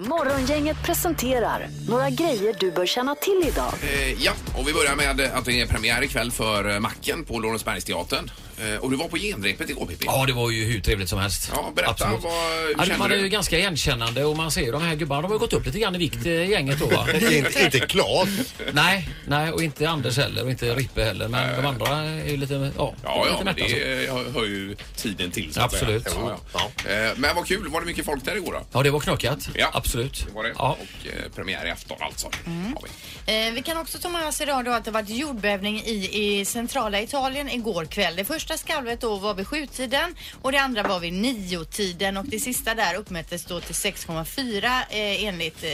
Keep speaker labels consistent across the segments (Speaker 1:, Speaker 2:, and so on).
Speaker 1: Morgongänget presenterar några grejer du bör känna till idag.
Speaker 2: Eh, ja, och vi börjar med att det är premiär ikväll för eh, Macken på Lorensbergsteatern. Eh, och du var på genrepet igår Pippi.
Speaker 3: Ja, det var ju hur trevligt som helst.
Speaker 2: Ja, berätta, vad- hur
Speaker 3: ja, det-
Speaker 2: kände
Speaker 3: man
Speaker 2: du?
Speaker 3: är ju ganska igenkännande och man ser ju de här gubbarna. De har ju gått upp lite grann i vikt, eh, gänget då va?
Speaker 4: inte, inte Claes.
Speaker 3: nej, nej, och inte Anders heller och inte Rippe heller. Men de andra är ju lite, ja,
Speaker 2: Ja, ja,
Speaker 3: lite
Speaker 2: men
Speaker 3: mätta. så.
Speaker 2: det eh, hör ju tiden till. så att
Speaker 3: Absolut.
Speaker 2: säga. Ja, ja. Eh, Men vad kul. Var det mycket folk där igår då?
Speaker 3: Ja, det var knockat.
Speaker 2: Ja.
Speaker 3: Absolut.
Speaker 2: Det var det.
Speaker 3: Ja.
Speaker 2: Och eh, premiär i afton alltså. Har vi.
Speaker 5: Eh, vi kan också ta med oss idag då att det varit jordbävning i, i centrala Italien igår kväll. Det första skalvet då var vid sjutiden och det andra var vid niotiden och det sista där uppmättes då till 6,4 eh, enligt eh,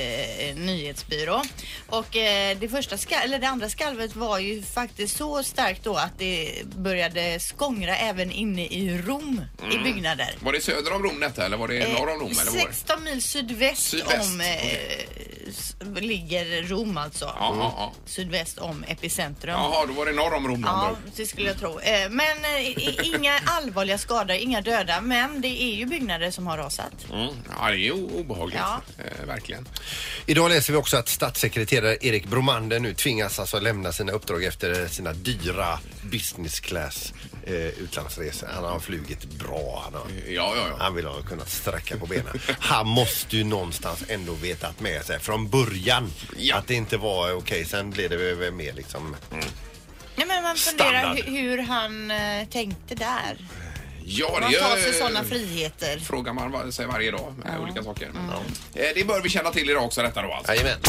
Speaker 5: nyhetsbyrå. Och eh, det, första ska, eller det andra skalvet var ju faktiskt så starkt då att det började skångra även inne i Rom i byggnader.
Speaker 2: Var det söder om Rom detta eller var
Speaker 5: Eh,
Speaker 2: det Mm. norr om Rom? Eller var det?
Speaker 5: 16 mil sydväst,
Speaker 2: Sydväst,
Speaker 5: om eh, s- ligger Rom alltså.
Speaker 2: Ja, ja, ja.
Speaker 5: Sydväst om epicentrum.
Speaker 2: Jaha, då var det norr om Rom.
Speaker 5: Ja,
Speaker 2: då.
Speaker 5: det skulle jag tro. Eh, Men eh, i- inga allvarliga skador, inga döda. Men det är ju byggnader som har rasat.
Speaker 2: Mm. Ja, det är ju obehagligt.
Speaker 5: Ja.
Speaker 2: Eh, verkligen.
Speaker 4: Idag läser vi också att statssekreterare Erik Bromander nu tvingas alltså lämna sina uppdrag efter sina dyra business class eh, utlandsresor. Han har flugit bra. Han, har,
Speaker 2: Ja, ja, ja.
Speaker 4: han vill ha kunnat sträcka på benen. Han måste ju någonstans ändå vetat med sig från början
Speaker 2: Ja.
Speaker 4: att det inte var okej. Sen blev det väl mer liksom...
Speaker 5: Nej, men man funderar
Speaker 4: Standard.
Speaker 5: hu- hur han eh, tänkte där.
Speaker 2: ja
Speaker 5: Man
Speaker 2: det
Speaker 5: tar
Speaker 2: gör...
Speaker 5: sig sådana friheter.
Speaker 2: Frågar man var- sig varje dag. med Olika saker.
Speaker 5: Mm.
Speaker 2: Men, eh, Det bör vi känna till idag också detta då alltså.
Speaker 4: Jajamän.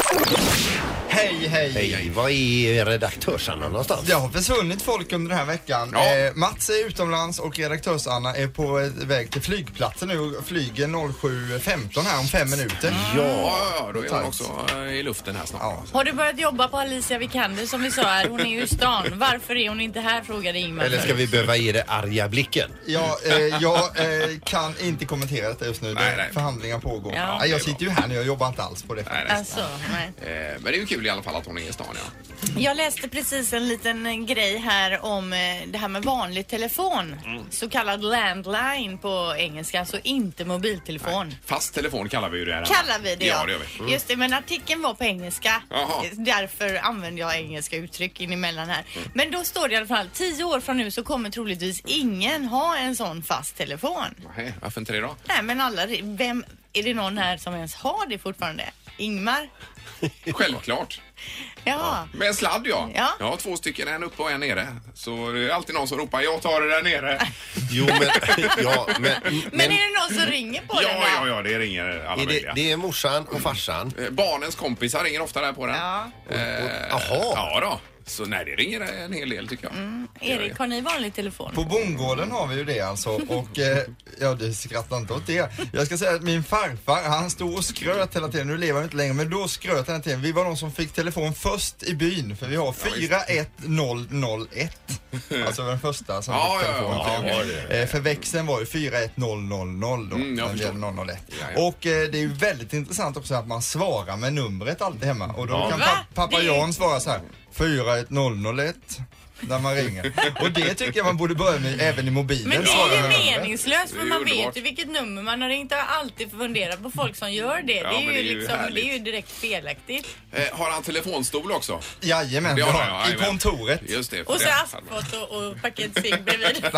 Speaker 6: Hej, hej!
Speaker 4: Hej, var är redaktörs-Anna någonstans?
Speaker 6: Det har försvunnit folk under den här veckan.
Speaker 2: Ja.
Speaker 6: Eh, Mats är utomlands och redaktörs-Anna är på eh, väg till flygplatsen nu och flyger 07.15 här om fem minuter.
Speaker 2: Ja, ja, då är hon
Speaker 6: Tack.
Speaker 2: också eh, i luften här snart.
Speaker 6: Ja.
Speaker 5: Har du börjat jobba på Alicia Vikander som vi sa här? Hon är ju i stan. Varför är hon inte här? frågade Ingmar.
Speaker 4: Eller ska vi behöva ge dig arga blicken?
Speaker 6: Ja, eh, jag eh, kan inte kommentera detta just nu.
Speaker 2: Nej,
Speaker 6: Det-
Speaker 2: nej.
Speaker 6: Förhandlingar pågår.
Speaker 5: Ja.
Speaker 6: Nej, jag sitter ju här nu, jag jobbar inte alls på det.
Speaker 2: Nej, nej.
Speaker 5: Alltså, nej.
Speaker 2: Eh, Men det är ju kul i alla fall att hon är i stan. Ja.
Speaker 5: Jag läste precis en liten eh, grej här om eh, det här med vanlig telefon.
Speaker 2: Mm.
Speaker 5: Så kallad landline på engelska, alltså inte mobiltelefon.
Speaker 2: Fast telefon kallar vi ju det här.
Speaker 5: Kallar vi det
Speaker 2: Ja, det gör vi. Mm.
Speaker 5: Just det, men artikeln var på engelska.
Speaker 2: Jaha.
Speaker 5: Därför använder jag engelska uttryck in emellan här.
Speaker 2: Mm.
Speaker 5: Men då står det i alla fall, tio år från nu så kommer troligtvis ingen ha en sån fast telefon.
Speaker 2: Nej, varför inte det då?
Speaker 5: Nej men alla, vem, är det någon här som ens har det fortfarande? Ingmar?
Speaker 2: Självklart.
Speaker 5: Ja.
Speaker 2: Med en sladd ja.
Speaker 5: Ja.
Speaker 2: Jag har två stycken, en uppe och en nere. Så det är alltid någon som ropar jag tar det där nere.
Speaker 4: Jo, men... Ja, men,
Speaker 5: Men, är det någon som ringer på
Speaker 2: ja,
Speaker 5: den då?
Speaker 2: ja, ja, det ringer alla
Speaker 4: Är det,
Speaker 2: möjliga.
Speaker 4: det är morsan och farsan.
Speaker 2: Eh, Barnens kompisar ringer ofta där på den. Eh,
Speaker 5: Ja.
Speaker 4: Jaha.
Speaker 2: Ja då. Så nej, det ringer en hel del tycker jag.
Speaker 5: Mm. Erik, har ni vanlig telefon?
Speaker 6: På bondgården har vi ju det alltså och eh, ja du skrattar inte åt det. Jag ska säga att min farfar han stod och skröt hela tiden, nu lever han inte längre men då skröt han hela tiden. Vi var de som fick telefon först i byn för vi har 41001. Alltså den första som
Speaker 2: Ja,
Speaker 6: fick
Speaker 2: ja,
Speaker 6: telefon.
Speaker 2: ja, okej, okej.
Speaker 6: Eh, för växeln var ju 41000 då.
Speaker 2: Mm, jag
Speaker 6: när det
Speaker 2: förstår.
Speaker 6: gäller 001.
Speaker 2: Ja, ja.
Speaker 6: Och eh, det är ju väldigt intressant också att man svarar med numret alltid hemma och då kan
Speaker 5: Va?
Speaker 6: pa- pappa
Speaker 5: Det-
Speaker 6: Jan svara så här 41001 när man ringer. Och det tycker jag man borde börja med även i mobilen.
Speaker 5: Men det
Speaker 6: svara
Speaker 5: är ju
Speaker 6: med numret.
Speaker 5: meningslöst för
Speaker 2: Det är
Speaker 5: man
Speaker 2: underbart.
Speaker 5: vet ju vilket nummer man har ringt. Jag har alltid funderat på folk som gör det.
Speaker 2: Ja,
Speaker 5: det, är
Speaker 2: men
Speaker 5: ju
Speaker 2: det är ju
Speaker 5: liksom, det är ju
Speaker 2: härligt.
Speaker 5: direkt felaktigt.
Speaker 2: Eh, har han telefonstol också?
Speaker 6: Jajamän,
Speaker 2: Det
Speaker 6: ja,
Speaker 2: har han, ja,
Speaker 6: i
Speaker 2: jajamän.
Speaker 6: kontoret.
Speaker 2: Just det. för
Speaker 5: Och så
Speaker 2: det-
Speaker 5: askpott och, och paket cigg bredvid.
Speaker 6: Nej,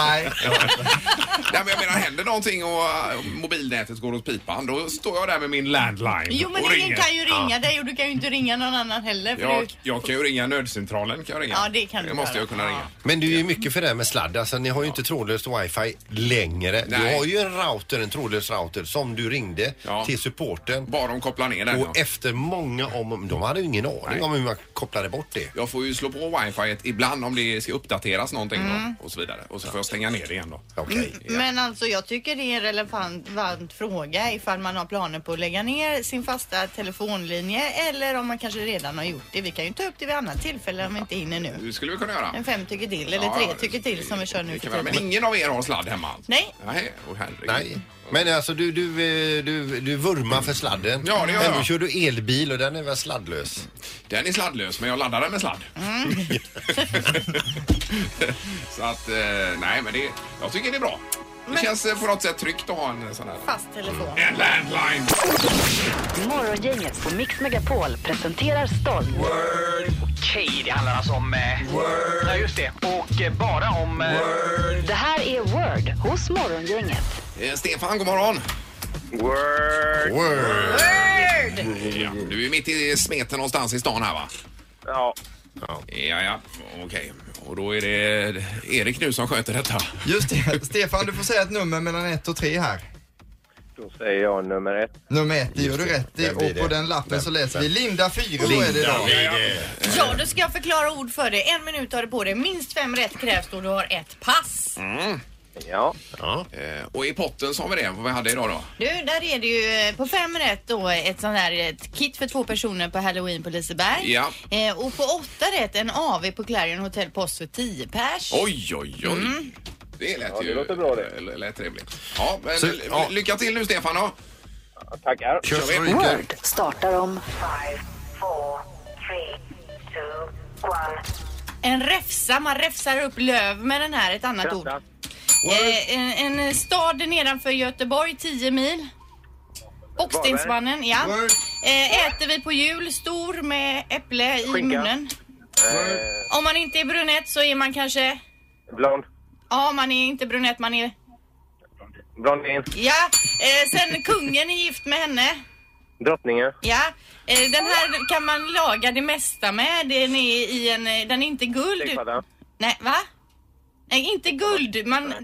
Speaker 2: Nej, men jag menar, händer någonting och eh, mobilnätet går åt pipan, då står jag där med min landline
Speaker 5: Jo men
Speaker 2: och
Speaker 5: ingen
Speaker 2: ringer.
Speaker 5: kan ju ringa dig och du kan ju inte ringa någon annan heller. För du...
Speaker 2: Jag, jag kan ju ringa nödcentralen. Kan jag ringa.
Speaker 5: Ja, det kan du
Speaker 2: måste
Speaker 5: göra.
Speaker 2: jag kunna ringa.
Speaker 4: Men du är ju mycket för det här med sladd. Alltså, ni har ju inte trådlöst wifi längre.
Speaker 2: Nej.
Speaker 4: Du har ju en router, en trådlös router, som du ringde
Speaker 2: Ja.
Speaker 4: till supporten.
Speaker 2: Bara de kopplar ner den.
Speaker 4: Och
Speaker 2: ja.
Speaker 4: efter många om... De hade ju ingen aning
Speaker 2: Nej.
Speaker 4: om hur man kopplade bort det.
Speaker 2: Jag får ju slå på wifi ibland om det ska uppdateras någonting
Speaker 5: Mm.
Speaker 2: då, och så vidare. Och så får jag stänga ner det igen då.
Speaker 4: Okej.
Speaker 5: Men alltså jag tycker det är en relevant relevant fråga ifall man har planer på att lägga ner sin fasta telefonlinje eller om man kanske redan har gjort det. Vi kan ju ta upp det vid annat tillfälle om vi inte hinner nu.
Speaker 2: Det skulle vi kunna göra.
Speaker 5: En fem tycker till eller
Speaker 2: Ja,
Speaker 5: tre
Speaker 2: ja,
Speaker 5: tycker till som vi kör nu
Speaker 2: det
Speaker 5: för
Speaker 2: kan vi göra. Men
Speaker 5: tiden.
Speaker 2: ingen av er har sladd hemma? alls?
Speaker 5: Nej.
Speaker 2: Nej, åh, herregud.
Speaker 4: Nej. Men alltså du, du, eh, du, du vurmar för sladden.
Speaker 2: Ja, det gör
Speaker 4: Ändå
Speaker 2: jag.
Speaker 4: kör du elbil och den är väl sladdlös?
Speaker 2: Den är sladdlös, men jag laddar den med sladd.
Speaker 7: Mm.
Speaker 2: så att, eh, nej men det, jag tycker det är bra. Det
Speaker 5: Men-
Speaker 2: känns eh, på något sätt tryggt att ha en sån här.
Speaker 5: Fast telefon.
Speaker 2: En landline!
Speaker 1: Morgongänget på Mix Megapol presenterar stolt
Speaker 8: Okej, det handlar alltså om... Eh, Word. Ja, just det. Och eh, bara om... Eh,
Speaker 1: Det här är Word hos Morgongänget.
Speaker 2: Eh, Stefan, god morgon.
Speaker 7: Word.
Speaker 4: Word.
Speaker 2: Ja, du är ju mitt i smeten någonstans i stan här va?
Speaker 7: Ja.
Speaker 2: Ja, ja, okej. Och då är det Erik nu som sköter detta.
Speaker 6: Just det. Stefan, du får säga ett nummer mellan 1 och 3 här.
Speaker 7: Då säger jag nummer ett.
Speaker 6: Nummer 1, det gör du rätt i.
Speaker 4: Vem blir
Speaker 6: Och på
Speaker 4: det?
Speaker 6: den lappen
Speaker 4: Vem?
Speaker 6: så läser vi
Speaker 4: Vem?
Speaker 6: Linda Fyrebo är det idag.
Speaker 5: Ja, då ska jag förklara ord för dig. En minut har du på dig. Minst fem rätt krävs och du har ett pass.
Speaker 7: Ja.
Speaker 4: Ja.
Speaker 2: Eh, Och i potten så har vi det, vad vi hade idag då.
Speaker 5: Du, där är det ju eh, på fem rätt då ett sånt här ett kit för två personer på Halloween på Liseberg.
Speaker 2: Ja.
Speaker 5: Eh, och på åtta rätt en AV på Clarion Hotel Post för 10 pers.
Speaker 2: Oj, oj, oj.
Speaker 5: Mm.
Speaker 2: Det lät
Speaker 7: Ja, det
Speaker 2: ju...
Speaker 7: låter bra det.
Speaker 2: l- Lät trevligt. Ja, men
Speaker 4: Så-
Speaker 2: ly-
Speaker 4: ja.
Speaker 2: lycka till nu Stefan då.
Speaker 7: Tackar.
Speaker 4: Kör
Speaker 2: Kör
Speaker 4: stryker.
Speaker 1: Word startar om
Speaker 5: En räfsa, man räfsar upp löv med den här, ett annat ord.
Speaker 7: Skratta.
Speaker 5: Eh, en, en stad nedanför Göteborg, 10 mil. Bockstensmannen, ja.
Speaker 6: Word.
Speaker 5: Eh, äter vi på jul, stor med äpple i
Speaker 7: Skinka.
Speaker 5: munnen.
Speaker 7: Eh,
Speaker 5: Om man inte är brunett så är man kanske...
Speaker 7: blond.
Speaker 5: Ja, man är inte brunett, man är...
Speaker 7: Blondin.
Speaker 5: Ja, eh, sen kungen är gift med henne.
Speaker 7: Drottningen.
Speaker 5: Ja, eh, den här kan man laga det mesta med. Den är i en... eh, Den är inte guld.
Speaker 7: Stekpadda.
Speaker 5: Nej, va? Nej, inte guld. Man...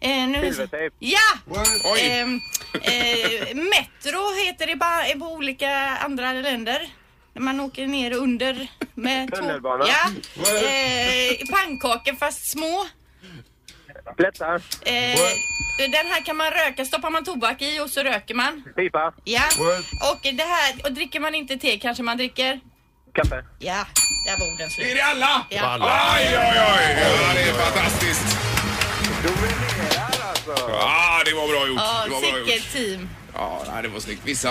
Speaker 5: Eh, nu...
Speaker 7: Silvertejp.
Speaker 5: Ja!
Speaker 2: Oj!
Speaker 5: Ehm, eh, metro heter det bara i- på olika andra länder. När man åker ner under med tåg.
Speaker 7: Tunnelbana.
Speaker 5: Ja. Eh, pannkakor fast små.
Speaker 7: Plättar.
Speaker 5: Eh, den här kan man röka, stoppar man tobak i och så röker man.
Speaker 7: Pipa.
Speaker 5: Ja.
Speaker 6: Word.
Speaker 5: Och det här, och dricker man inte te kanske man dricker?
Speaker 7: Kaffe.
Speaker 5: Ja, där var orden
Speaker 2: Är
Speaker 5: slut.
Speaker 2: det alla?
Speaker 5: Ja.
Speaker 4: Alla.
Speaker 2: Aj, oj, oj! Ja, det är fantastiskt.
Speaker 7: Dominerar alltså.
Speaker 2: Ja, det var bra gjort.
Speaker 5: Ja,
Speaker 2: det var bra gjort.
Speaker 5: säkert team.
Speaker 2: Ja, nej, det var snyggt. Vissa,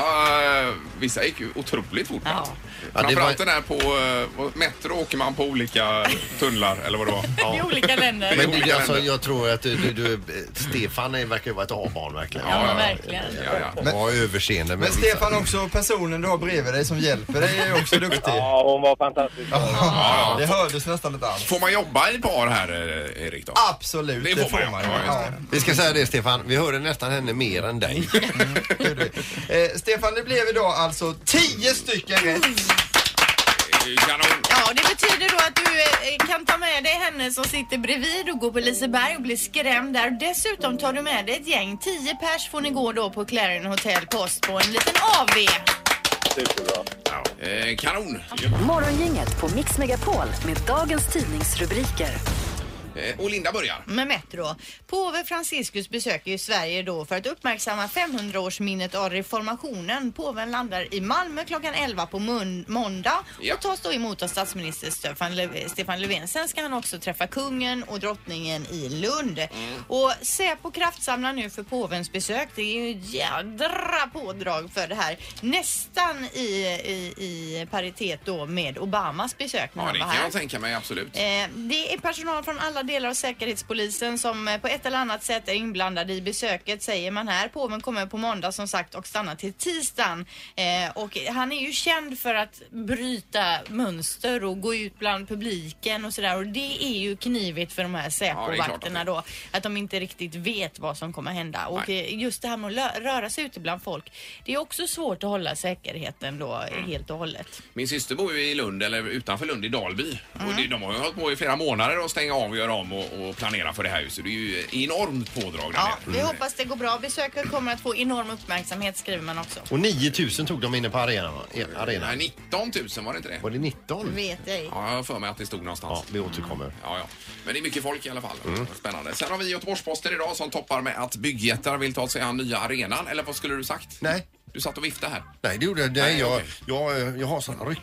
Speaker 2: eh, vissa gick ju otroligt fort.
Speaker 5: Ja.
Speaker 4: Ja, det
Speaker 2: Framförallt
Speaker 4: var-
Speaker 2: den här på eh, vad- Metro åker man på olika tunnlar eller vad det var.
Speaker 5: I olika länder.
Speaker 2: Men-
Speaker 5: Ja,
Speaker 4: Men du,
Speaker 2: olika
Speaker 4: alltså,
Speaker 2: länder.
Speaker 4: jag tror att du, du, du, eh, Stefan är- verkar ju vara ett A-barn verkligen.
Speaker 2: ja, ja.
Speaker 5: men verkligen.
Speaker 2: Ja, ja.
Speaker 4: Men, ha överseende med
Speaker 6: Men
Speaker 4: vissa.
Speaker 6: Stefan, också personen du har bredvid dig som hjälper dig är också duktig.
Speaker 7: Ja, hon var fantastisk.
Speaker 6: Ja, Det hördes nästan inte alls.
Speaker 2: Får man jobba i par här, eh, Erik? Då?
Speaker 6: Absolut,
Speaker 2: Det
Speaker 6: det,
Speaker 2: får
Speaker 6: får
Speaker 2: man,
Speaker 6: man.
Speaker 2: ja,
Speaker 6: ja.
Speaker 2: just
Speaker 4: Vi ska säga det Stefan, vi hörde nästan henne mer än dig.
Speaker 6: Eh, Stefan, det blev idag alltså 10 stycken rätt.
Speaker 2: Det är ju Eh, Kanon.
Speaker 5: Ja, det betyder då att du eh, kan ta med dig henne som sitter bredvid och går på Liseberg och blir skrämd där. Dessutom tar du med dig ett gäng, 10 pers får ni gå då på Clarion Hotel Post på en liten AV.
Speaker 7: Superbra.
Speaker 2: Eh, kanon.
Speaker 1: Morgongänget på Mix Megapol med dagens tidningsrubriker.
Speaker 2: Eh, och Linda börjar.
Speaker 5: Med Metro. Påve Franciscus besöker ju Sverige då för att uppmärksamma 500-årsminnet av reformationen. Påven landar i Malmö klockan 11 på mun- måndag
Speaker 2: Ja.
Speaker 5: och tas då emot av statsminister Stefan, Lö- Stefan Löfven. Sen ska han också träffa kungen och drottningen i Lund.
Speaker 2: Mm.
Speaker 5: Och Säpo kraftsamlar nu för påvens besök. Det är ju ett jädra pådrag för det här. Nästan i, i, i paritet då med Obamas besök när
Speaker 2: Ja,
Speaker 5: han
Speaker 2: det
Speaker 5: var
Speaker 2: kan
Speaker 5: här.
Speaker 2: jag tänka mig, absolut.
Speaker 5: Eh, Det är personal från alla delar av Säkerhetspolisen som eh, på ett eller annat sätt är inblandade i besöket säger man här. Påven kommer på måndag som sagt och stannar till tisdagen. Eh, Och han är ju känd för att bryta mönster och gå ut bland publiken och sådär. Och det är ju knivigt för de här
Speaker 2: Ja, det är klart att det
Speaker 5: Säpo-vakterna
Speaker 2: är.
Speaker 5: då. Att de inte riktigt vet vad som kommer hända. Och
Speaker 2: Nej.
Speaker 5: eh, just det här med att lö- röra sig ute bland folk. Det är också svårt att hålla säkerheten då
Speaker 2: Mm.
Speaker 5: eh, helt och hållet.
Speaker 2: Min syster bor ju i Lund, eller utanför Lund, i Dalby. Och det, de har ju hållit på i flera månader att stänga av och göra om och, och planera för det här huset. Det är ju enormt Mm. pådrag där
Speaker 5: Ja,
Speaker 2: nere.
Speaker 5: vi hoppas det går bra. Besöket kommer att få enorm uppmärksamhet skriver man också.
Speaker 4: Och 9000 tog de inne på arenan. va? E- arenan.
Speaker 2: Nej, 19 000 var det inte det?
Speaker 4: Var det 19?
Speaker 5: Vet ej.
Speaker 2: Ja, jag har för mig att det stod någonstans.
Speaker 4: Ja, vi återkommer.
Speaker 2: Ja, ja. Men det är mycket folk i alla fall. Spännande. Sen har vi Göteborgs-Posten idag som toppar med att byggjättar vill ta sig an nya arenan. Eller vad skulle du sagt?
Speaker 4: Nej.
Speaker 2: Du satt och viftade här.
Speaker 4: Nej, det gjorde jag.
Speaker 2: Nej,
Speaker 4: Nej, jag,
Speaker 2: okej.
Speaker 4: jag, jag har sådana ryck.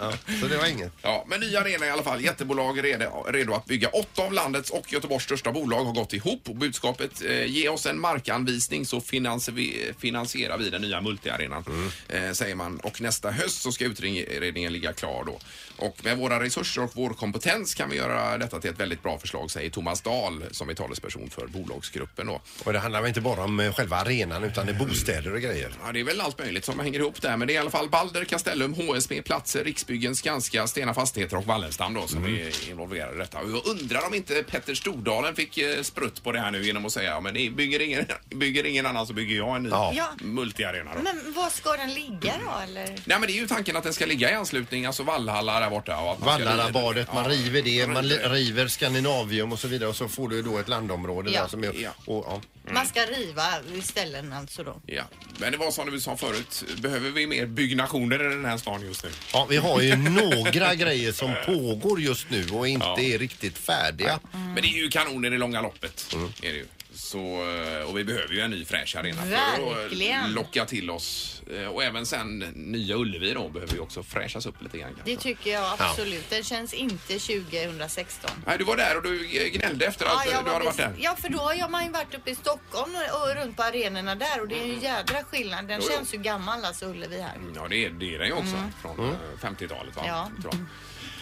Speaker 4: ja, så det var inget.
Speaker 2: Ja, men nya arena i alla fall. Jättebolag är redo, redo att bygga. Åtta av landets och Göteborgs största bolag har gått ihop och budskapet eh, ge oss en markanvisning så finansier vi, finansierar vi den nya multiarenan, eh, säger man. Och nästa höst så ska utredningen ligga klar då. Och med våra resurser och vår kompetens kan vi göra detta till ett väldigt bra förslag, säger Thomas Dahl som är talesperson för bolagsgruppen då.
Speaker 4: Och det handlar väl inte bara om eh, själva arenan utan utrustande bostäder och grejer.
Speaker 2: Ja, det är väl allt möjligt som hänger ihop där. Men det är i alla fall Balder, Castellum, HSB, Platser, Riksbyggen, Skanska, Stena Fastigheter och Wallenstam då som
Speaker 4: Mm.
Speaker 2: är involverade i detta. Och jag undrar om inte Petter Stordalen fick eh, sprutt på det här nu genom att säga ja, men det bygger ingen, bygger ingen annan så bygger jag en ny
Speaker 4: Ja.
Speaker 5: Ja.
Speaker 2: multiarena då.
Speaker 5: Men var ska den ligga då eller?
Speaker 2: Nej men det är ju tanken att den ska ligga i anslutning, alltså Vallhalla där borta. och att man ska-
Speaker 4: Vallarabadet, man
Speaker 2: Ja,
Speaker 4: river det, man
Speaker 2: river det.
Speaker 4: river Skandinavium och så vidare och så får du då ett landområde
Speaker 5: Ja.
Speaker 4: där som är...
Speaker 2: Ja.
Speaker 4: Och, ja.
Speaker 2: Mm.
Speaker 5: Man ska riva ställen alltså då.
Speaker 2: Ja, men det var som du sa förut, behöver vi mer byggnationer i den här stan just nu?
Speaker 4: Ja, vi har ju några grejer som pågår just nu och inte
Speaker 2: Ja.
Speaker 4: är riktigt färdiga.
Speaker 5: Mm.
Speaker 2: Men det är ju kanon i det långa loppet. Är det ju. Så, eh, och vi behöver ju en ny fräsch arena för att
Speaker 5: Verkligen.
Speaker 2: locka till oss. Eh, Och även sen Nya Ullevi då behöver ju också fräschas upp lite grann.
Speaker 5: Det
Speaker 2: kanske.
Speaker 5: tycker jag absolut. Den känns inte 2016.
Speaker 2: Nej, du var där och du eh, gnällde efter att
Speaker 5: jag
Speaker 2: du
Speaker 5: var
Speaker 2: hade varit
Speaker 5: bes-
Speaker 2: där.
Speaker 5: ja, för då har jag- man ju varit uppe i Stockholm och, och runt på arenorna där och det är ju en jädra skillnad. Den
Speaker 2: Jo, jo.
Speaker 5: känns ju gammal alltså Ullevi här.
Speaker 2: Mm, Ja, det är det är den ju också. Från eh, 50-talet va?
Speaker 5: Mm. Ja.
Speaker 2: Tror jag.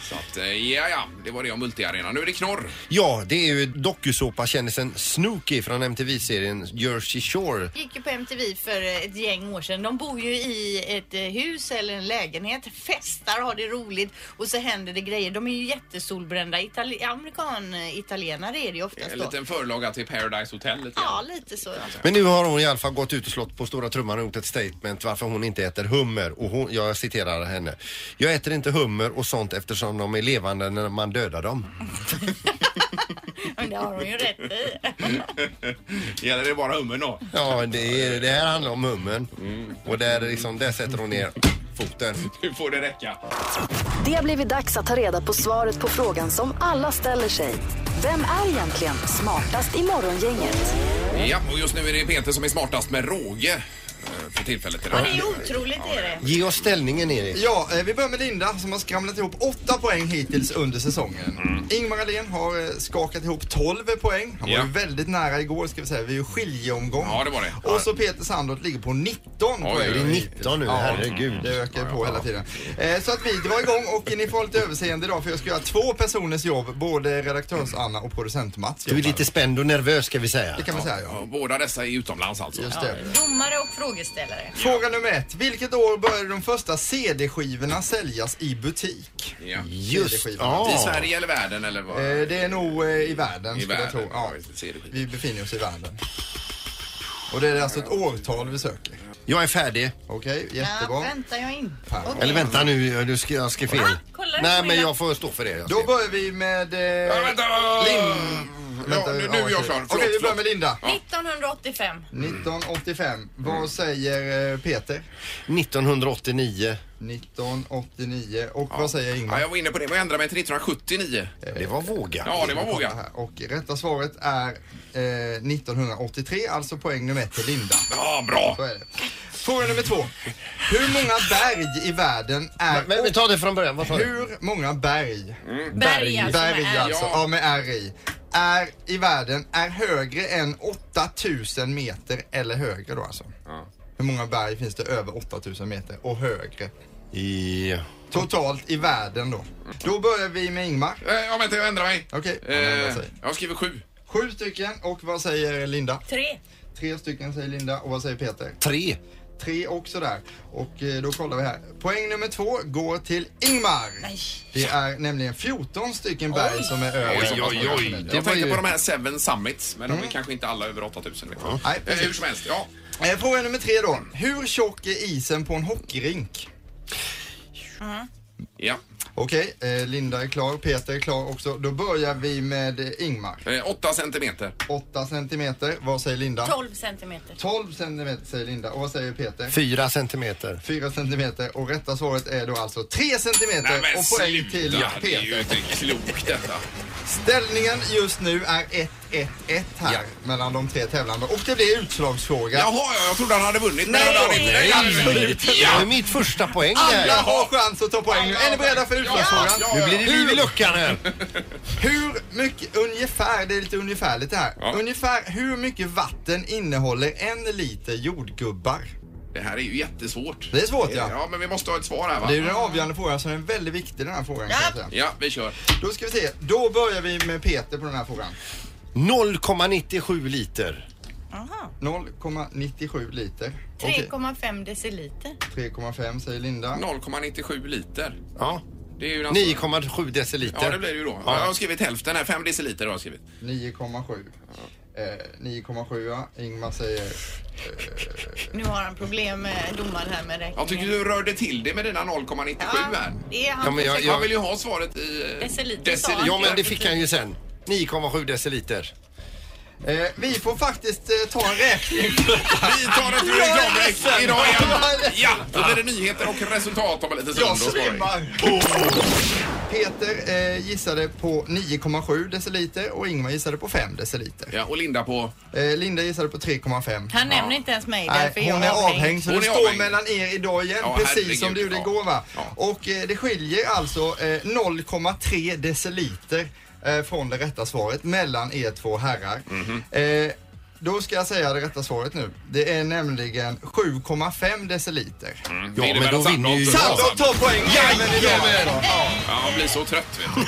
Speaker 2: Så att, eh, ja, ja, det var det om multiarena. Nu är det knorr.
Speaker 4: Ja, det är ju dokusåpakändisen Snooki från MTV-serien Jersey Shore.
Speaker 5: gick ju på MTV för ett gäng år sedan. De bor ju i ett eh, hus eller en lägenhet, festar, har det roligt och så händer det grejer. De är ju jättesolbrända. Itali- Amerikan, eh, italienare är det ju oftast
Speaker 2: En
Speaker 5: då.
Speaker 2: liten förlaga till Paradise Hotel lite
Speaker 5: Ja,
Speaker 2: grann.
Speaker 5: lite så. ja.
Speaker 4: Men nu har hon i alla fall gått ut och slått på stora trumman och gjort ett statement varför hon inte äter hummer. Och hon, jag citerar henne. Jag äter inte hummer och sånt eftersom de är levande när man dödar dem.
Speaker 5: Men det har hon ju rätt i.
Speaker 2: Gäller det bara hummen då?
Speaker 4: Ja, det, är, det här handlar om hummern. Och där, liksom, där sätter hon ner foten.
Speaker 2: Nu får det räcka.
Speaker 1: Det har blivit dags att ta reda på svaret på frågan som alla ställer sig. Vem är egentligen smartast i morgongänget?
Speaker 2: Ja, och just nu är det Peter som är smartast med råge eh, för tillfället.
Speaker 5: Ja, det är otroligt är det.
Speaker 4: Ge oss ställningen Erik.
Speaker 6: Ja, eh, vi börjar med Linda som har skramlat ihop 8 poäng hittills under säsongen. Ingmar Ahlén har eh, skakat ihop 12 poäng. Han var
Speaker 2: Mm. Ja.
Speaker 6: ju väldigt nära igår ska vi säga. Vi är ju skiljeomgång.
Speaker 2: Ja, det var det.
Speaker 6: Och så Peter Sandholt ligger på 19
Speaker 2: Oj,
Speaker 6: poäng.
Speaker 4: Det är 19 nu,
Speaker 6: Ja. Det
Speaker 4: herregud.
Speaker 6: ökar ju på hela tiden. Eh, Så att vi drar igång och ni får lite överseende idag för jag ska göra två personers jobb. Både redaktörs-Anna och producent-Mats.
Speaker 4: Du är lite spänd och nervös ska vi säga.
Speaker 6: Det kan man säga ja.
Speaker 2: Ja, Båda dessa är utomlands alltså.
Speaker 6: Just
Speaker 5: Ja,
Speaker 6: det.
Speaker 5: domare och frågeställare.
Speaker 6: Fråga nummer ett. Vilket år började de första CD-skivorna säljas i butik?
Speaker 2: Ja.
Speaker 4: Just
Speaker 2: I
Speaker 4: ja.
Speaker 2: Sverige eller världen eller vad?
Speaker 6: Eh, Det är nog eh, i världen
Speaker 2: I
Speaker 6: skulle jag
Speaker 2: världen.
Speaker 6: tro. Ja.
Speaker 2: Ja, CD-skivor.
Speaker 6: Vi befinner oss i världen. Och det är alltså ett årtal vi söker.
Speaker 4: Jag är färdig.
Speaker 6: Okej,
Speaker 5: Ja,
Speaker 6: jättebra.
Speaker 5: väntar jag in.
Speaker 6: Fan.
Speaker 5: Okej.
Speaker 4: Eller vänta nu, du ska, jag ska fel.
Speaker 5: Ah, kolla det
Speaker 4: Nej
Speaker 5: på
Speaker 4: men
Speaker 5: mina-
Speaker 4: jag får stå för det. Jag
Speaker 6: Då
Speaker 4: ska-
Speaker 6: börjar vi med... eh,
Speaker 2: Ja, vänta! Ja, nu, nu är jag
Speaker 6: okej.
Speaker 2: klar. Förlåt,
Speaker 6: Okej, vi börjar
Speaker 2: förlåt. Mm.
Speaker 6: med Linda.
Speaker 5: 1985.
Speaker 6: 1985. Vad säger eh, Peter?
Speaker 4: 1989.
Speaker 6: 1989. Och vad säger Ingmar?
Speaker 2: Ja, jag var inne på det, men jag ändrade mig till 1979.
Speaker 4: Eh, Det var våga.
Speaker 2: Ja, det var
Speaker 6: Kolla
Speaker 2: våga.
Speaker 6: här. Och rätta svaret är eh, 1983, alltså poäng nummer ett till Linda.
Speaker 2: Ja, bra.
Speaker 6: Så är det. Fråga nummer två. Hur många berg i världen är...
Speaker 4: Men vi tar det från början. Vad sa du?
Speaker 6: Hur många berg,
Speaker 5: Berg alltså.
Speaker 6: berg
Speaker 5: med R.
Speaker 6: alltså,
Speaker 2: Mm. Ja.
Speaker 6: ja. med R i, är i världen är högre än 8000 meter eller högre då alltså?
Speaker 2: Ja.
Speaker 6: Hur många berg finns det över 8000 meter och högre?
Speaker 4: I...
Speaker 6: Totalt i världen då. Då börjar vi med Ingmar.
Speaker 2: Eh, Ja, vänta, jag ändrar mig.
Speaker 6: Okej, han ändrar
Speaker 2: Eh,
Speaker 6: sig.
Speaker 2: jag skriver sju.
Speaker 6: Sju stycken och vad säger Linda?
Speaker 5: Tre.
Speaker 6: Tre stycken säger Linda och vad säger Peter?
Speaker 4: Tre.
Speaker 6: Tre också där. Och eh, då kollar vi här. Poäng nummer två går till Ingmar. Det är nämligen 14 stycken berg som är över.
Speaker 2: Oj,
Speaker 6: som
Speaker 2: oj,
Speaker 6: man-
Speaker 2: oj.
Speaker 6: Det
Speaker 2: Jag
Speaker 6: var
Speaker 2: tänkte
Speaker 6: ju- Mm.
Speaker 2: på de här Seven Summits, men de är kanske inte alla över 8000. vet jag.
Speaker 6: Nej,
Speaker 2: Eh,
Speaker 6: precis.
Speaker 2: Hur som helst, ja.
Speaker 6: Eh, Fråga nummer tre då. Hur tjock är isen på en hockeyrink?
Speaker 2: ja.
Speaker 6: Okej, eh, Linda är klar, Peter är klar också. Då börjar vi med eh, Ingmar.
Speaker 2: Eh, Åtta centimeter.
Speaker 6: 8 centimeter. Vad säger Linda?
Speaker 5: 12 centimeter.
Speaker 6: 12 centimeter säger Linda. Och vad säger Peter?
Speaker 4: Fyra centimeter.
Speaker 6: 4 centimeter och rätta svaret är då alltså 3 centimeter
Speaker 2: Nej, men
Speaker 6: och poäng till
Speaker 2: sluta. Det är ju
Speaker 6: Peter.
Speaker 2: inte klokt detta.
Speaker 6: Ställningen just nu är 1-1-1 här mellan de tre tävlande och det blir utslagsfråga.
Speaker 2: Jaha, ja, jag trodde han hade vunnit. men det hade han inte.
Speaker 4: Nej,
Speaker 2: absolut
Speaker 4: det
Speaker 2: Ja.
Speaker 4: var mitt första poäng
Speaker 6: Alla
Speaker 4: där.
Speaker 6: har chans att ta poäng nu. Är ni beredda för utslagsfrågan?
Speaker 2: Ja,
Speaker 4: Nu blir det liv i luckan här.
Speaker 6: Hur mycket, ungefär, det är lite ungefärligt det här.
Speaker 2: Ja.
Speaker 6: Ungefär hur mycket vatten innehåller en liter jordgubbar?
Speaker 2: Det här är ju jättesvårt.
Speaker 6: Det är svårt ja.
Speaker 2: Ja, men vi måste ha ett svar här va?
Speaker 6: Det är ju den avgörande frågan som är väldigt viktig den här frågan kan jag säga.
Speaker 2: Ja, vi kör.
Speaker 6: Då ska vi se, då börjar vi med Peter på den här frågan.
Speaker 4: 0,97 liter.
Speaker 5: Aha.
Speaker 6: 0,97 liter. Okej,
Speaker 5: 3,5 deciliter.
Speaker 6: 3,5 säger Linda.
Speaker 2: 0,97 liter.
Speaker 4: Ja.
Speaker 2: Det är ju alltså-
Speaker 4: 9,7 deciliter.
Speaker 2: Ja, det blir det ju då.
Speaker 4: Ja.
Speaker 2: Jag har skrivit hälften här. 5 deciliter har jag skrivit.
Speaker 6: 9,7. Eh, 9,7. Ingmar säger...
Speaker 5: Nu har han problem med domaren här med räkningen.
Speaker 2: Jag tycker du rörde till det med dina 0,97 här.
Speaker 5: det är han.
Speaker 4: Ja, men jag-
Speaker 5: som-
Speaker 2: Jag vill ju ha svaret i... eh,
Speaker 5: Deciliter
Speaker 2: decil-
Speaker 5: sa han.
Speaker 2: Ja,
Speaker 4: Ja, men det fick han ju sen. 9,7 deciliter.
Speaker 6: Eh, vi får faktiskt eh, ta en räkning.
Speaker 2: Vi tar ett reklamräck idag igen. Ja, då blir det nyheter och resultat om en liten stund. då
Speaker 6: Jag
Speaker 2: ska vi.
Speaker 6: svimmar. Peter eh, gissade på 9,7 deciliter och Ingmar gissade på 5 deciliter.
Speaker 2: Ja, och Linda på...
Speaker 6: Eh, Linda gissade på 3,5.
Speaker 5: Han nämner inte ens mig
Speaker 6: Nej,
Speaker 5: därför
Speaker 6: hon
Speaker 5: jag
Speaker 6: är avhängd så
Speaker 2: Hon
Speaker 6: det
Speaker 2: är
Speaker 6: står
Speaker 2: avhängd.
Speaker 6: mellan er idag igen
Speaker 2: Ja,
Speaker 6: precis
Speaker 2: herregud,
Speaker 6: som det gjorde
Speaker 2: ja.
Speaker 6: igår va?
Speaker 2: Ja.
Speaker 6: Och eh, det skiljer alltså eh, 0,3 deciliter eh, från det rätta svaret mellan er två herrar.
Speaker 2: Mhm.
Speaker 6: eh, då ska jag säga det rätta svaret nu. Det är nämligen 7,5 deciliter.
Speaker 2: Det
Speaker 4: Ja, men
Speaker 2: innebär
Speaker 4: då
Speaker 2: att
Speaker 4: vinner ju
Speaker 2: Sandholt-
Speaker 4: jag.
Speaker 6: Sandholt tar poäng även idag alltså.
Speaker 2: Ja, jag blir så trött vet du.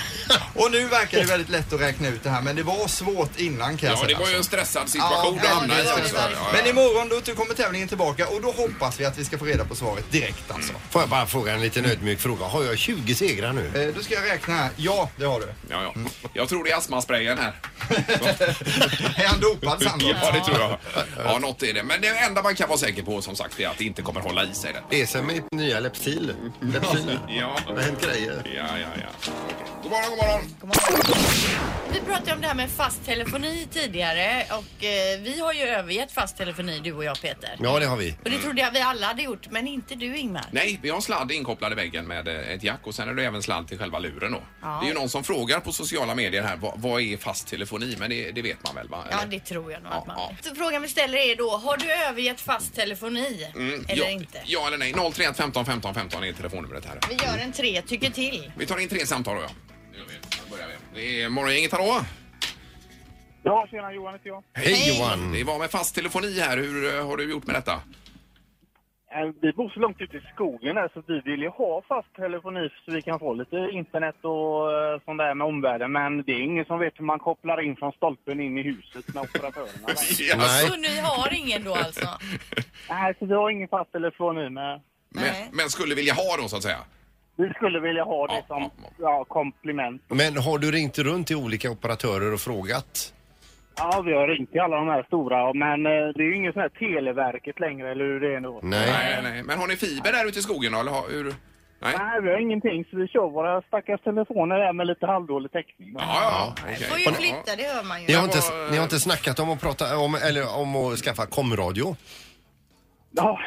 Speaker 6: Och nu verkar det väldigt lätt att räkna ut det här men det var svårt innan kan jag
Speaker 2: Ja,
Speaker 6: säga.
Speaker 2: det var ju en
Speaker 6: alltså.
Speaker 2: stressad situation du
Speaker 6: Ja,
Speaker 2: hamnade i.
Speaker 6: det var det
Speaker 2: också.
Speaker 5: verkligen.
Speaker 2: Ja, ja.
Speaker 6: Men imorgon då återkommer tävlingen tillbaka och då hoppas vi att vi ska få reda på svaret direkt alltså.
Speaker 2: Mm.
Speaker 4: Får jag bara fråga en liten ödmjuk fråga. Har jag 20 segrar nu?
Speaker 6: Eh, då ska jag räkna här. Ja, det har du.
Speaker 2: Ja, ja. Jag tror det är astmasprayen här.
Speaker 6: Är han dopad Sandholt?
Speaker 2: Ja, det tror jag. Ja, något är det. Men det enda man kan vara säker på som sagt är att det inte kommer hålla i sig. Det.
Speaker 4: Det är som mitt nya Lepsil. Lepsil.
Speaker 2: Ja,
Speaker 4: Det har hänt grejer.
Speaker 2: ja, ja. ja. Okej. God morgon, god morgon.
Speaker 5: Vi pratade ju om det här med fast telefoni tidigare och eh, vi har ju övergett fast telefoni du och jag Peter.
Speaker 4: Ja, det har vi.
Speaker 5: Och det trodde jag vi alla hade gjort men inte du Ingmar.
Speaker 2: Nej, vi har en sladd inkopplad i väggen med eh, ett jack och sen är det även sladd till själva luren då.
Speaker 5: Ja.
Speaker 2: Det är ju någon som frågar på sociala medier här vad, vad är fast telefoni? Men det, det vet man väl va?
Speaker 5: Ja
Speaker 2: Eller?
Speaker 5: det tror jag nog
Speaker 2: Ja,
Speaker 5: att man
Speaker 2: ja.
Speaker 5: Så frågan vi ställer är då, har du övergett fast telefoni? eller
Speaker 2: Mm, ja,
Speaker 5: inte?
Speaker 2: Ja eller nej. 031 15 15 15 är telefonnumret här.
Speaker 5: Vi gör en tre tycker till.
Speaker 2: Vi tar in tre samtal då ja. Det gör vi. Då börjar vi. Det är morgongänget, hallå?
Speaker 7: Ja, tjena Johan heter jag.
Speaker 4: Hej Johan!
Speaker 2: Det var med fast telefoni här. Hur eh, har du gjort med detta?
Speaker 7: Eh, Vi bor så långt ute i skogen här så vi vill ju ha fast telefoni så vi kan få lite internet och eh, sånt där med omvärlden. Men det är ingen som vet hur man kopplar in från stolpen in i huset med operatörerna. Nej.
Speaker 4: Nej.
Speaker 5: Så ni har ingen då alltså?
Speaker 7: Nej, så vi har ingen fast telefoni med.
Speaker 2: Men,
Speaker 5: Nej.
Speaker 2: men skulle vilja ha då så att säga?
Speaker 7: Vi skulle vilja ha det
Speaker 2: Ja,
Speaker 7: som
Speaker 2: ja,
Speaker 7: ja, komplement.
Speaker 4: Men har du ringt runt till olika operatörer och frågat?
Speaker 7: Ja, vi har ringt till alla de här stora men eh, det är ju ingen sån här Televerket längre eller hur det är nu.
Speaker 2: Mm.
Speaker 4: Nej.
Speaker 2: Nej, nej. Men har ni fiber där ute i skogen då, eller har, hur? Nej?
Speaker 7: Nej, vi har ingenting så vi kör våra stackars telefoner där med lite halvdålig täckning.
Speaker 2: Ja, ja. okej.
Speaker 5: Får ju flytta, det hör man ju.
Speaker 4: Ni har, inte, ni har inte snackat om att, prata, om, eller om att skaffa komradio?
Speaker 7: Ja.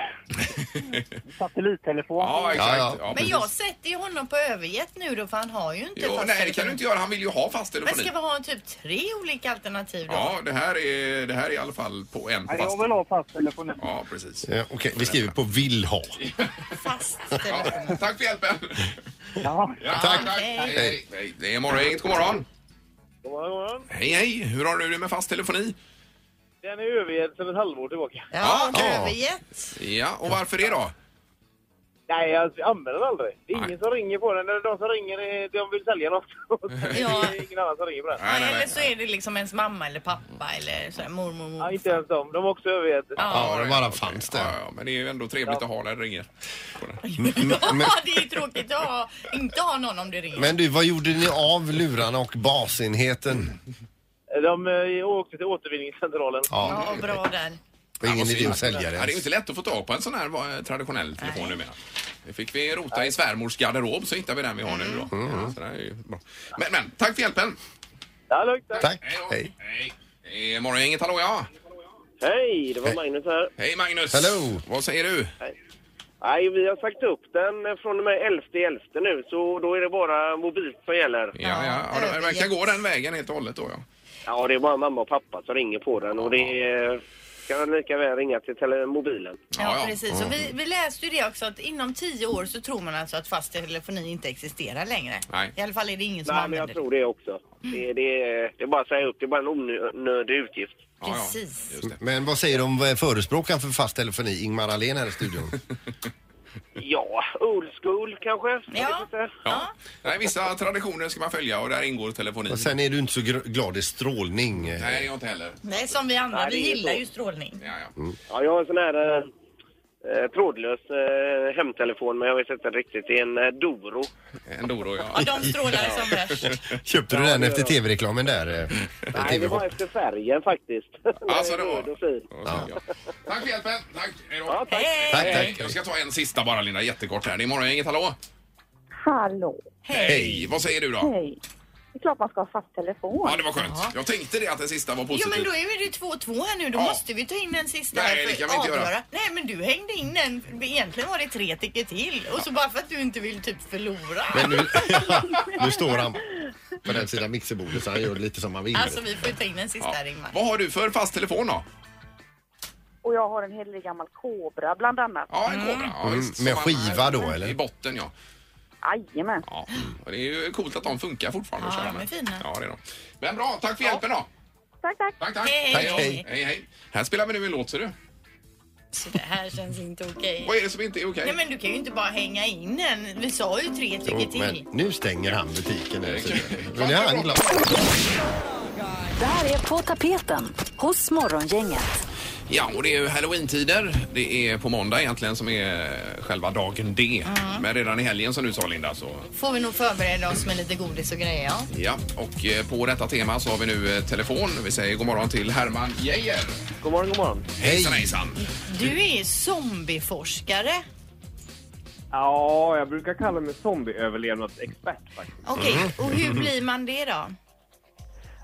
Speaker 7: Satellittelefon.
Speaker 2: Ja, exakt.
Speaker 4: Ja, ja.
Speaker 2: Ja,
Speaker 5: Men
Speaker 2: precis.
Speaker 5: jag sätter ju honom på övergett nu då för han har ju inte
Speaker 2: Jo,
Speaker 5: fast
Speaker 2: nej, det kan
Speaker 5: telefoni.
Speaker 2: du inte göra. Han vill ju ha fast
Speaker 5: Men
Speaker 2: telefoni.
Speaker 5: ska vi ha en typ tre olika alternativ då?
Speaker 2: Ja, det här, är, det här är i alla fall på en
Speaker 7: Nej,
Speaker 2: fast.
Speaker 7: Jag vill ha fast telefoni.
Speaker 2: Ja, precis.
Speaker 4: Eh, Okej, vi skriver på vill ha.
Speaker 5: Fast
Speaker 2: Ja,
Speaker 5: telefoni.
Speaker 2: tack för hjälpen!
Speaker 7: Ja.
Speaker 2: Ja,
Speaker 4: Tack.
Speaker 2: Hej,
Speaker 5: Hej.
Speaker 2: hej. Hej. Det är morgongänget, god morgon!
Speaker 7: God morgon, god morgon.
Speaker 2: Hej, hej! Hur har du det med fast telefoni?
Speaker 7: Den är övergedd sedan ett halvår tillbaka.
Speaker 5: Ja,
Speaker 4: Ja.
Speaker 5: övergett.
Speaker 2: Ja, och varför det då?
Speaker 7: Nej, alltså, vi använder den aldrig. Det är
Speaker 2: Nej.
Speaker 7: ingen som ringer på den. De som ringer eh, de vill sälja något.
Speaker 5: Ja.
Speaker 7: Det är ingen annan som ringer på den.
Speaker 2: Nej, nej,
Speaker 5: Eller
Speaker 2: nej.
Speaker 5: så är det liksom ens mamma eller pappa eller så här, mormor,
Speaker 7: Ja,
Speaker 5: morfar.
Speaker 7: inte ens de. De är också övergett.
Speaker 4: Ja, det bara fanns
Speaker 2: Ja,
Speaker 4: det.
Speaker 2: ja, men det är ju ändå trevligt att ha när det ringer.
Speaker 4: Men,
Speaker 5: Ja, det är ju tråkigt att ha, inte ha någon om det ringer.
Speaker 4: men du, vad gjorde ni av lurarna och basenheten?
Speaker 7: De eh, åkte till återvinningscentralen.
Speaker 4: Ja,
Speaker 5: Ja, bra där.
Speaker 4: det är ingen idé att
Speaker 2: Ja,
Speaker 4: sälja
Speaker 2: det är ju
Speaker 4: det.
Speaker 2: inte lätt att få tag på en sån här eh, traditionell telefon numera. Det fick vi rota i svärmors garderob så hittade vi den vi har nu då. Så det här är ju bra. Men, men, tack för hjälpen!
Speaker 7: Ja, lugnt.
Speaker 4: Tack,
Speaker 2: då.
Speaker 4: hej.
Speaker 2: Hej! Det är Eh, Morgongänget, hallå ja!
Speaker 7: Hej, det var
Speaker 4: Hej.
Speaker 7: Magnus här.
Speaker 2: Hej Magnus!
Speaker 4: Hello.
Speaker 2: Vad säger du?
Speaker 7: Nej, vi har sagt upp den från och med 11.11 nu, så då är det bara mobilt som gäller.
Speaker 2: Ja, ja, ja, det verkar gå den vägen helt och hållet då ja.
Speaker 7: Ja, det är bara mamma och pappa som ringer på den och det är, kan lika väl ringa till tele- mobilen.
Speaker 5: Ja,
Speaker 2: ja. Mm.
Speaker 5: precis. Och vi, vi läste ju det också att inom tio år så tror man alltså att fast telefoni inte existerar längre.
Speaker 2: Nej.
Speaker 5: I alla fall är det ingen som
Speaker 7: Nej, men
Speaker 5: använder
Speaker 7: jag tror det också. Det, det, är- det är bara att säga upp, det är bara en onödig utgift.
Speaker 5: det.
Speaker 2: Ja, ja.
Speaker 5: Precis.
Speaker 2: Just det.
Speaker 4: Men vad säger de eh, förespråkaren för fast telefoni, Ingmar Ahlén här i studion?
Speaker 7: Ja, old school kanske? Jag vet
Speaker 5: Ja.
Speaker 7: inte.
Speaker 2: Ja. Nej, vissa traditioner ska man följa och där ingår telefoni.
Speaker 4: Och sen är du inte så gr- glad i strålning. eh.
Speaker 2: Nej, det är jag inte heller.
Speaker 5: Nej, som vi andra.
Speaker 7: Nej, det
Speaker 5: vi
Speaker 7: är
Speaker 5: gillar
Speaker 7: så.
Speaker 5: ju strålning.
Speaker 2: Ja, ja.
Speaker 7: Ja, jag har en sån här eh, trådlös eh, hemtelefon, men jag vet inte riktigt. Det är en eh, Doro.
Speaker 2: En Doro, ja.
Speaker 5: Ja, de strålar som värst.
Speaker 4: Eh, Köpte du den efter tv-reklamen där? eh,
Speaker 7: Nej, det
Speaker 4: TV-shop?
Speaker 7: var efter färgen faktiskt.
Speaker 2: Alltså, det var-
Speaker 7: Röd och fin.
Speaker 2: Ja. Tack för hjälpen. Tack. Hej då.
Speaker 7: Ja, tack.
Speaker 5: Hej!
Speaker 4: Tack,
Speaker 2: Hej.
Speaker 4: tack.
Speaker 2: Jag ska ta en sista bara, Linda, jättekort här. Det är Morgongänget, hallå?
Speaker 9: Hallå.
Speaker 2: Hej! Vad säger du då?
Speaker 9: Hej. Det är klart man ska ha fast telefon.
Speaker 2: Ja, det var skönt. Jag tänkte det att den sista var
Speaker 5: Jo
Speaker 2: positiv.
Speaker 5: men då är det 2-2 här nu, då
Speaker 2: Ja.
Speaker 5: måste vi ta in den sista
Speaker 2: Nej,
Speaker 5: här för
Speaker 2: det kan
Speaker 5: att
Speaker 2: vi inte göra.
Speaker 5: Nej men du hängde in den, egentligen var det tre tickor till och så bara för att du inte vill typ förlora.
Speaker 4: Men nu, nu står han på den sidan mixerbordet så han gör lite som han vill.
Speaker 5: Alltså vi får ju ta in den sista här Ingmar.
Speaker 2: Vad har du för fast telefon då?
Speaker 9: Och jag har en hel gammal kobra bland annat.
Speaker 2: Ja, en Kobra. Ja,
Speaker 4: Mm,
Speaker 2: visst.
Speaker 4: med
Speaker 2: Som
Speaker 4: skiva
Speaker 2: man-
Speaker 4: då, eller?
Speaker 2: I botten, ja.
Speaker 9: Jajamän.
Speaker 2: ja. Och det är ju coolt att de funkar fortfarande. att
Speaker 5: Ja,
Speaker 2: köra
Speaker 5: de är
Speaker 2: med.
Speaker 5: fina.
Speaker 2: Ja, det är de. Men bra, tack för hjälpen då.
Speaker 9: Tack, tack.
Speaker 2: Tack, tack.
Speaker 5: Hej,
Speaker 2: då.
Speaker 5: hej.
Speaker 2: hej, hej. Här spelar vi nu en låt, ser du.
Speaker 5: Så det här känns inte okej.
Speaker 2: Vad är det som inte är okej?
Speaker 5: Nej men du kan ju inte bara hänga in den, vi sa ju tre
Speaker 4: Jo,
Speaker 5: tickor
Speaker 4: men
Speaker 5: till.
Speaker 4: nu stänger han butiken. Här, så- men det är han glad.
Speaker 1: Det här är På tapeten hos Morgongänget.
Speaker 2: Ja, och det är ju halloween-tider. Det är på måndag egentligen som är själva dagen D. Men redan i helgen som du sa Linda så...
Speaker 5: Får vi nog förbereda oss med lite godis och grejer ja.
Speaker 2: Ja, och eh, på detta tema så har vi nu eh, telefon. Vi säger god morgon till Herman Geijer.
Speaker 7: God morgon, god morgon.
Speaker 2: Hejsan hejsan!
Speaker 5: Du är zombieforskare.
Speaker 7: Ja, jag brukar kalla mig zombieöverlevnadsexpert faktiskt.
Speaker 5: Okej,
Speaker 2: Mm.
Speaker 5: och hur blir man det då?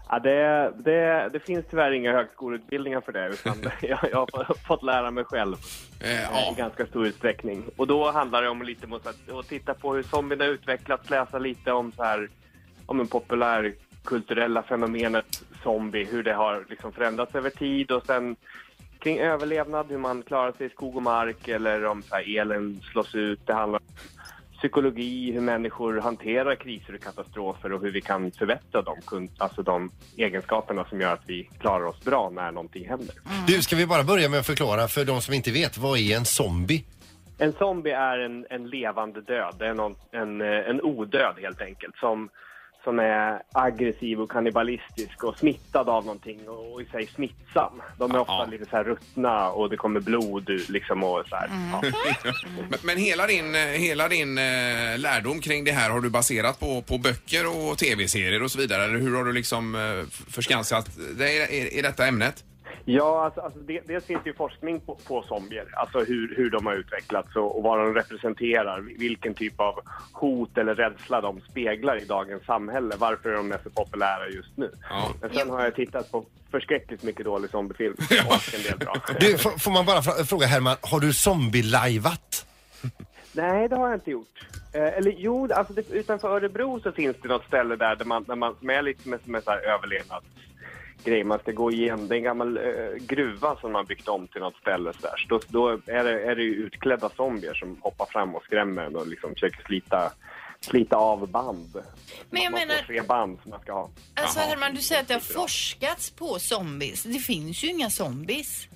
Speaker 7: Ja, det, det, det finns tyvärr inga högskoleutbildningar för det, utan jag, jag har fått lära mig själv
Speaker 2: Eh,
Speaker 7: i
Speaker 2: ja.
Speaker 7: ganska stor utsträckning. Och då handlar det om lite om att att titta på hur zombierna utvecklats, läsa lite om så här, om en populär kulturella fenomenet zombie, hur det har liksom förändrats över tid och sen kring överlevnad, hur man klarar sig i skog och mark eller om så här, elen slås ut. Det handlar om psykologi, hur människor hanterar kriser och katastrofer och hur vi kan förbättra de, kun- alltså de egenskaperna som gör att vi klarar oss bra när någonting händer.
Speaker 4: Du, ska vi bara börja med att förklara för de som inte vet, vad är en zombie?
Speaker 7: En zombie är en, en levande död. Det är någon, en, eh, en odöd helt enkelt som, som är aggressiv och kannibalistisk och smittad av någonting och, och i sig smittsam. De är ofta
Speaker 2: Ja.
Speaker 7: lite så här ruttna och det kommer blod ur liksom och så här. Ja.
Speaker 2: Men, men hela din, eh, hela din eh, lärdom kring det här har du baserat på, på böcker och tv-serier och så vidare? Eller hur har du liksom eh, f- förskansat dig i, i, i detta ämnet?
Speaker 7: Ja, alltså, alltså det, dels finns ju forskning på, på zombier, alltså hur, hur de har utvecklats och, och vad de representerar, vilken typ av hot eller rädsla de speglar i dagens samhälle, varför är de är så populära just nu.
Speaker 2: Ja.
Speaker 7: Men sen har jag tittat på förskräckligt mycket dålig zombiefilm och en del bra.
Speaker 4: Du, får, får man bara fra- fråga Herman, har du zombie-lajvat?
Speaker 7: Nej, det har jag inte gjort. Eh, eller jo, alltså det, utanför Örebro så finns det något ställe där, där man, där man som är lite som en som en så här överlevnadsgrej. Man ska gå igenom, det är en gammal eh, gruva som man byggt om till något ställe så där. Så då, då är, det, är det ju utklädda zombier som hoppar fram och skrämmer en och liksom försöker slita, slita av band.
Speaker 5: Men jag
Speaker 7: man
Speaker 5: menar-
Speaker 7: får tre band som man ska ha.
Speaker 5: Alltså
Speaker 2: Jaha.
Speaker 5: Herman, du säger att det har forskats på zombies. Det finns ju inga zombies.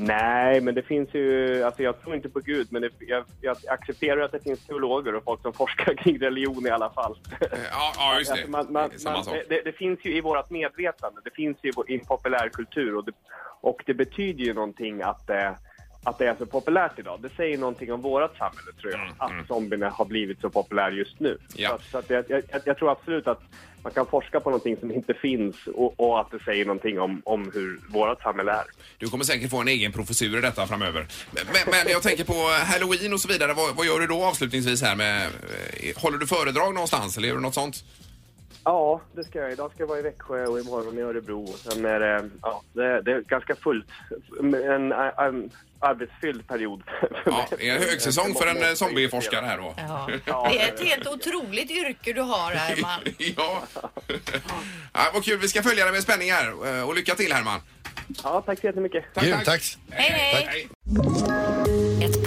Speaker 7: Nej, men det finns ju... Alltså jag tror inte på Gud, men det, jag, jag accepterar att det finns teologer och folk som forskar kring religion i alla fall.
Speaker 2: Eh, Ja, ja just det.
Speaker 7: Alltså, man, man,
Speaker 2: Det är samma
Speaker 7: man,
Speaker 2: sak.
Speaker 7: det, det finns ju i vårt medvetande, det finns ju i vår- i populärkultur och det, och det betyder ju någonting att det, att det är så populärt idag. Det säger någonting om vårt samhälle tror jag, att zombierna har blivit så populär just nu.
Speaker 2: Mm, Ja.
Speaker 7: Så, att, så att jag, jag, jag tror absolut att man kan forska på någonting som inte finns och, och att det säger någonting om, om hur vårt samhälle är.
Speaker 2: Du kommer säkert få en egen professur i detta framöver. Men, men, men jag tänker på halloween och så vidare. Vad, vad gör du då avslutningsvis här med... eh, Håller du föredrag någonstans eller gör du något sånt?
Speaker 7: Ja, det ska jag. Idag ska jag vara i Växjö och imorgon i Örebro. Sen är det, ja, det, det är ganska fullt. En, en, en arbetsfylld period. för
Speaker 2: Ja,
Speaker 7: mig.
Speaker 2: det är högsäsong för en eh, zombieforskare här då.
Speaker 5: Ja. Det är ett helt otroligt yrke du har Herman.
Speaker 2: Ja. ja. Vad kul. Vi ska följa det med spänning här. Eh, Och lycka till Herman.
Speaker 7: Ja, tack så jättemycket.
Speaker 4: Grymt, tack.
Speaker 5: Hej, hej.
Speaker 10: Ett